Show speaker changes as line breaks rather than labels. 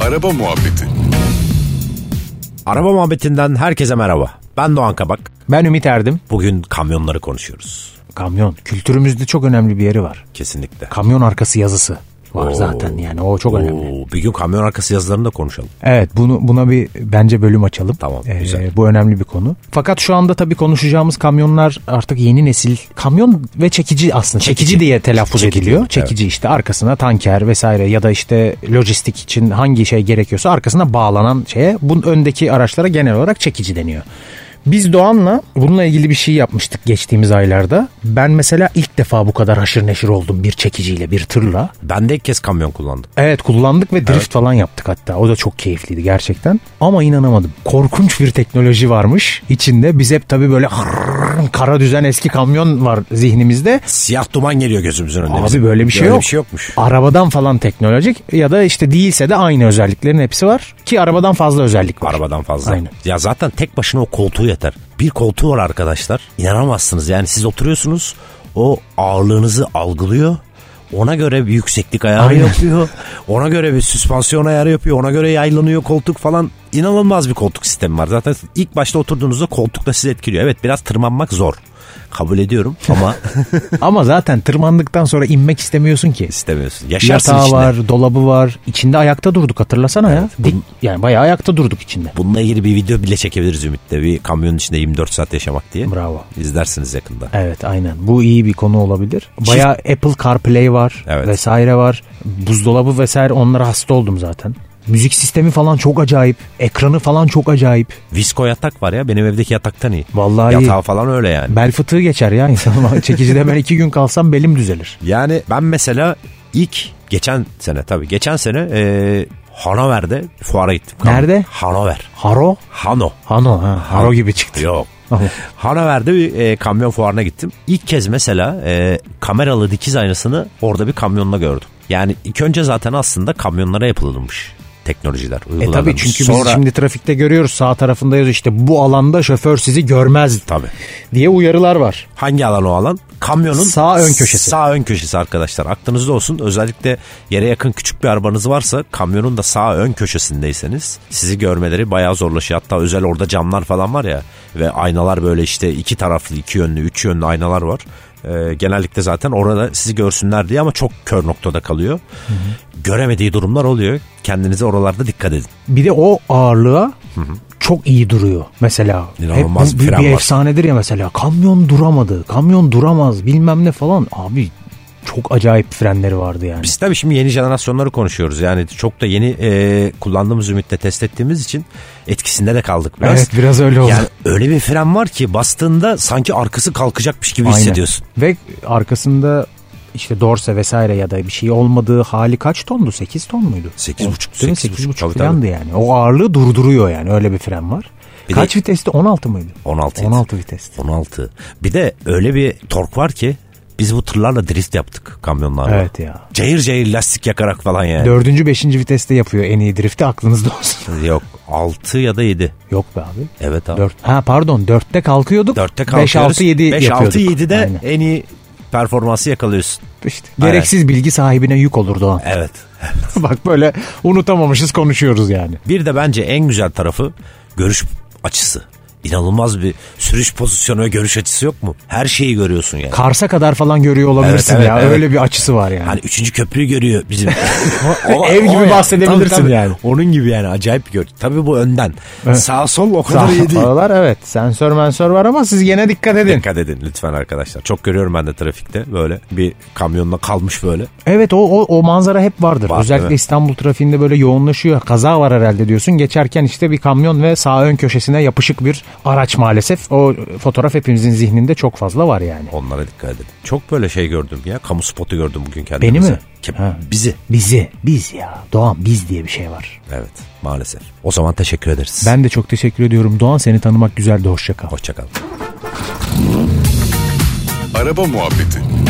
Araba Muhabbeti
Araba muhabbetinden herkese merhaba. Ben Doğan Kabak.
Ben Ümit Erdim.
Bugün kamyonları konuşuyoruz.
Kamyon. Kültürümüzde çok önemli bir yeri var.
Kesinlikle.
Kamyon arkası yazısı var
Oo.
zaten yani o çok önemli.
Oo, bir gün kamyon arkası yazılarını da konuşalım.
Evet bunu buna bir bence bölüm açalım. Ee,
Tamam, güzel.
Bu önemli bir konu. Fakat şu anda tabii konuşacağımız kamyonlar artık yeni nesil kamyon ve çekici aslında. Çekici,
Çekici.
diye telaffuz
Çekici,
ediliyor.
evet.
Çekici işte arkasına tanker vesaire ya da işte lojistik için hangi şey gerekiyorsa arkasına bağlanan şeye bunun öndeki araçlara genel olarak çekici deniyor. Biz Doğan'la bununla ilgili bir şey yapmıştık geçtiğimiz aylarda. Ben mesela ilk defa bu kadar haşır neşir oldum bir çekiciyle, bir tırla.
Ben de ilk kez kamyon kullandım.
Evet kullandık ve drift falan yaptık hatta. O da çok keyifliydi gerçekten. Ama inanamadım. Korkunç bir teknoloji varmış içinde. Biz hep tabii böyle "Hırrrr" kara düzen eski kamyon var zihnimizde.
Siyah duman geliyor gözümüzün önüne.
Abi
bizim.
böyle bir şey yok.
bir şey yokmuş.
Arabadan falan teknolojik ya da işte değilse de aynı özelliklerin hepsi var. Ki arabadan fazla özellik var.
Arabadan fazla.
Aynen.
Ya zaten tek başına o koltuğu yeter. Bir koltuğu var arkadaşlar. İnanamazsınız yani siz oturuyorsunuz. O ağırlığınızı algılıyor. Ona göre bir yükseklik ayarı
Aynen.
yapıyor. Ona göre bir süspansiyon ayarı yapıyor. Ona göre yaylanıyor koltuk falan. İnanılmaz bir koltuk sistemi var. Zaten ilk başta oturduğunuzda koltuk da sizi etkiliyor. Evet biraz tırmanmak zor. Kabul ediyorum ama
Ama zaten tırmandıktan sonra inmek istemiyorsun ki.
istemiyorsun. Yaşarsın
Yatağı
içinde.
var, dolabı var. İçinde ayakta durduk hatırlasana ya. Dik,
bun-
yani bayağı ayakta durduk içinde.
Bununla ilgili bir video bile çekebiliriz Ümit'le. Bir kamyonun içinde 24 saat yaşamak diye.
Bravo.
İzlersiniz yakında.
Evet aynen. Bu iyi bir konu olabilir. Baya Apple CarPlay var
Evet.
vesaire var. Buzdolabı vesaire onlara hasta oldum zaten. Müzik sistemi falan çok acayip. Ekranı falan çok acayip.
Visko yatak var ya benim evdeki yataktan iyi.
Vallahi
Yatağı falan öyle yani.
bel fıtığı geçer ya insan. Çekicide ben iki gün kalsam belim düzelir.
Yani ben mesela ilk geçen sene tabii geçen sene e, Hanover'de fuara gittim.
Nerede?
Hanover.
Haro?
Hano.
Hano ha. Haro gibi çıktı.
Yok.
Aha.
Hanover'de bir e, kamyon fuarına gittim. İlk kez mesela e, kameralı dikiz aynasını orada bir kamyonla gördüm. Yani ilk önce zaten aslında kamyonlara yapılmış teknolojiler.
E
uygulanmış.
tabii çünkü
Sonra-
biz şimdi trafikte görüyoruz sağ tarafında yazıyor işte bu alanda şoför sizi görmez
Tabii.
diye uyarılar var.
Hangi alan o alan? Kamyonun
Sağ ön köşesi.
Sağ ön köşesi arkadaşlar. Aklınızda olsun. Özellikle yere yakın küçük bir arabanız varsa kamyonun da sağ ön köşesindeyseniz sizi görmeleri bayağı zorlaşıyor. Hatta özel orada camlar falan var ya ve aynalar böyle işte iki taraflı, iki yönlü, üç yönlü aynalar var. Ee, genellikle zaten orada sizi görsünler diye ama çok kör noktada kalıyor. Göremediği durumlar oluyor. Kendinize oralarda dikkat edin.
Bir de o ağırlığa çok iyi duruyor mesela.
İnanılmaz bir
Hep bu- bir,
fren
bir
var.
efsanedir ya mesela. Kamyon duramadı, kamyon duramaz bilmem ne falan. Abi çok acayip frenleri vardı yani.
Biz tabii şimdi yeni jenerasyonları konuşuyoruz. Yani çok da yeni e, kullandığımız ümitle test ettiğimiz için etkisinde de kaldık biraz.
Evet, biraz öyle oldu.
Yani öyle bir fren var ki bastığında sanki arkası kalkacakmış gibi
Aynen.
hissediyorsun.
Ve arkasında işte dorse vesaire ya da bir şey olmadığı hali kaç tondu? 8 ton muydu?
Sekiz
O-
buçuk,
Değil mi?
sekiz
8,5
buçuk, tabii,
falandı yani. O ağırlığı durduruyor yani öyle bir fren var.
Bir
kaç viteste? 16 mıydı?
16 ydi.
16 viteste.
16. Bir de öyle bir tork var ki biz bu tırlarla drift yaptık kamyonlarla.
Evet ya.
Cayır cayır lastik yakarak falan yani.
Dördüncü, beşinci viteste yapıyor en iyi drifti aklınızda olsun.
Yok 6 ya da 7.
Yok be abi.
Evet abi.
Dört. Ha pardon dörtte kalkıyorduk.
4'te
5
kalkıyoruz.
6 7 yapıyorduk.
5-6-7'de
Aynen.
en iyi performansı yakalıyorsun.
İşte gereksiz bilgi sahibine yük olur Doğan.
Evet.
Bak böyle unutamamışız konuşuyoruz yani.
Bir de bence en güzel tarafı görüş açısı. İnanılmaz bir sürüş pozisyonu ve görüş açısı yok mu? Her şeyi görüyorsun yani.
Karsa kadar falan görüyor olabilirsin
Evet, evet,
ya.
evet.
Öyle bir açısı var yani.
Hani üçüncü köprüyü görüyor bizim.
Ev gibi
ya.
bahsedebilirsin
Tabii, tabii.
yani.
Onun gibi yani acayip bir görüş. Tabii bu önden. Sağ sol o kadar iyi değil.
Aralar evet. Sensör mensör var ama siz gene dikkat edin.
Dikkat edin lütfen arkadaşlar. Çok görüyorum ben de trafikte böyle bir kamyonla kalmış böyle.
Evet o, o, o manzara hep vardır.
Var,
Özellikle
evet.
İstanbul trafiğinde böyle yoğunlaşıyor. Kaza var herhalde diyorsun. Geçerken işte bir kamyon ve sağ ön köşesine yapışık bir araç maalesef. O fotoğraf hepimizin zihninde çok fazla var yani.
Onlara dikkat edin. Çok böyle şey gördüm ya. Kamu spotu gördüm bugün
Beni
kendimize.
mi?
Ke-
Ha.
Bizi.
Bizi, biz ya. Doğan biz diye bir şey var.
Evet maalesef. O zaman teşekkür ederiz.
Ben de çok teşekkür ediyorum. Doğan seni tanımak güzeldi. Hoşça kal.
Hoşçakalın.
Araba Muhabbeti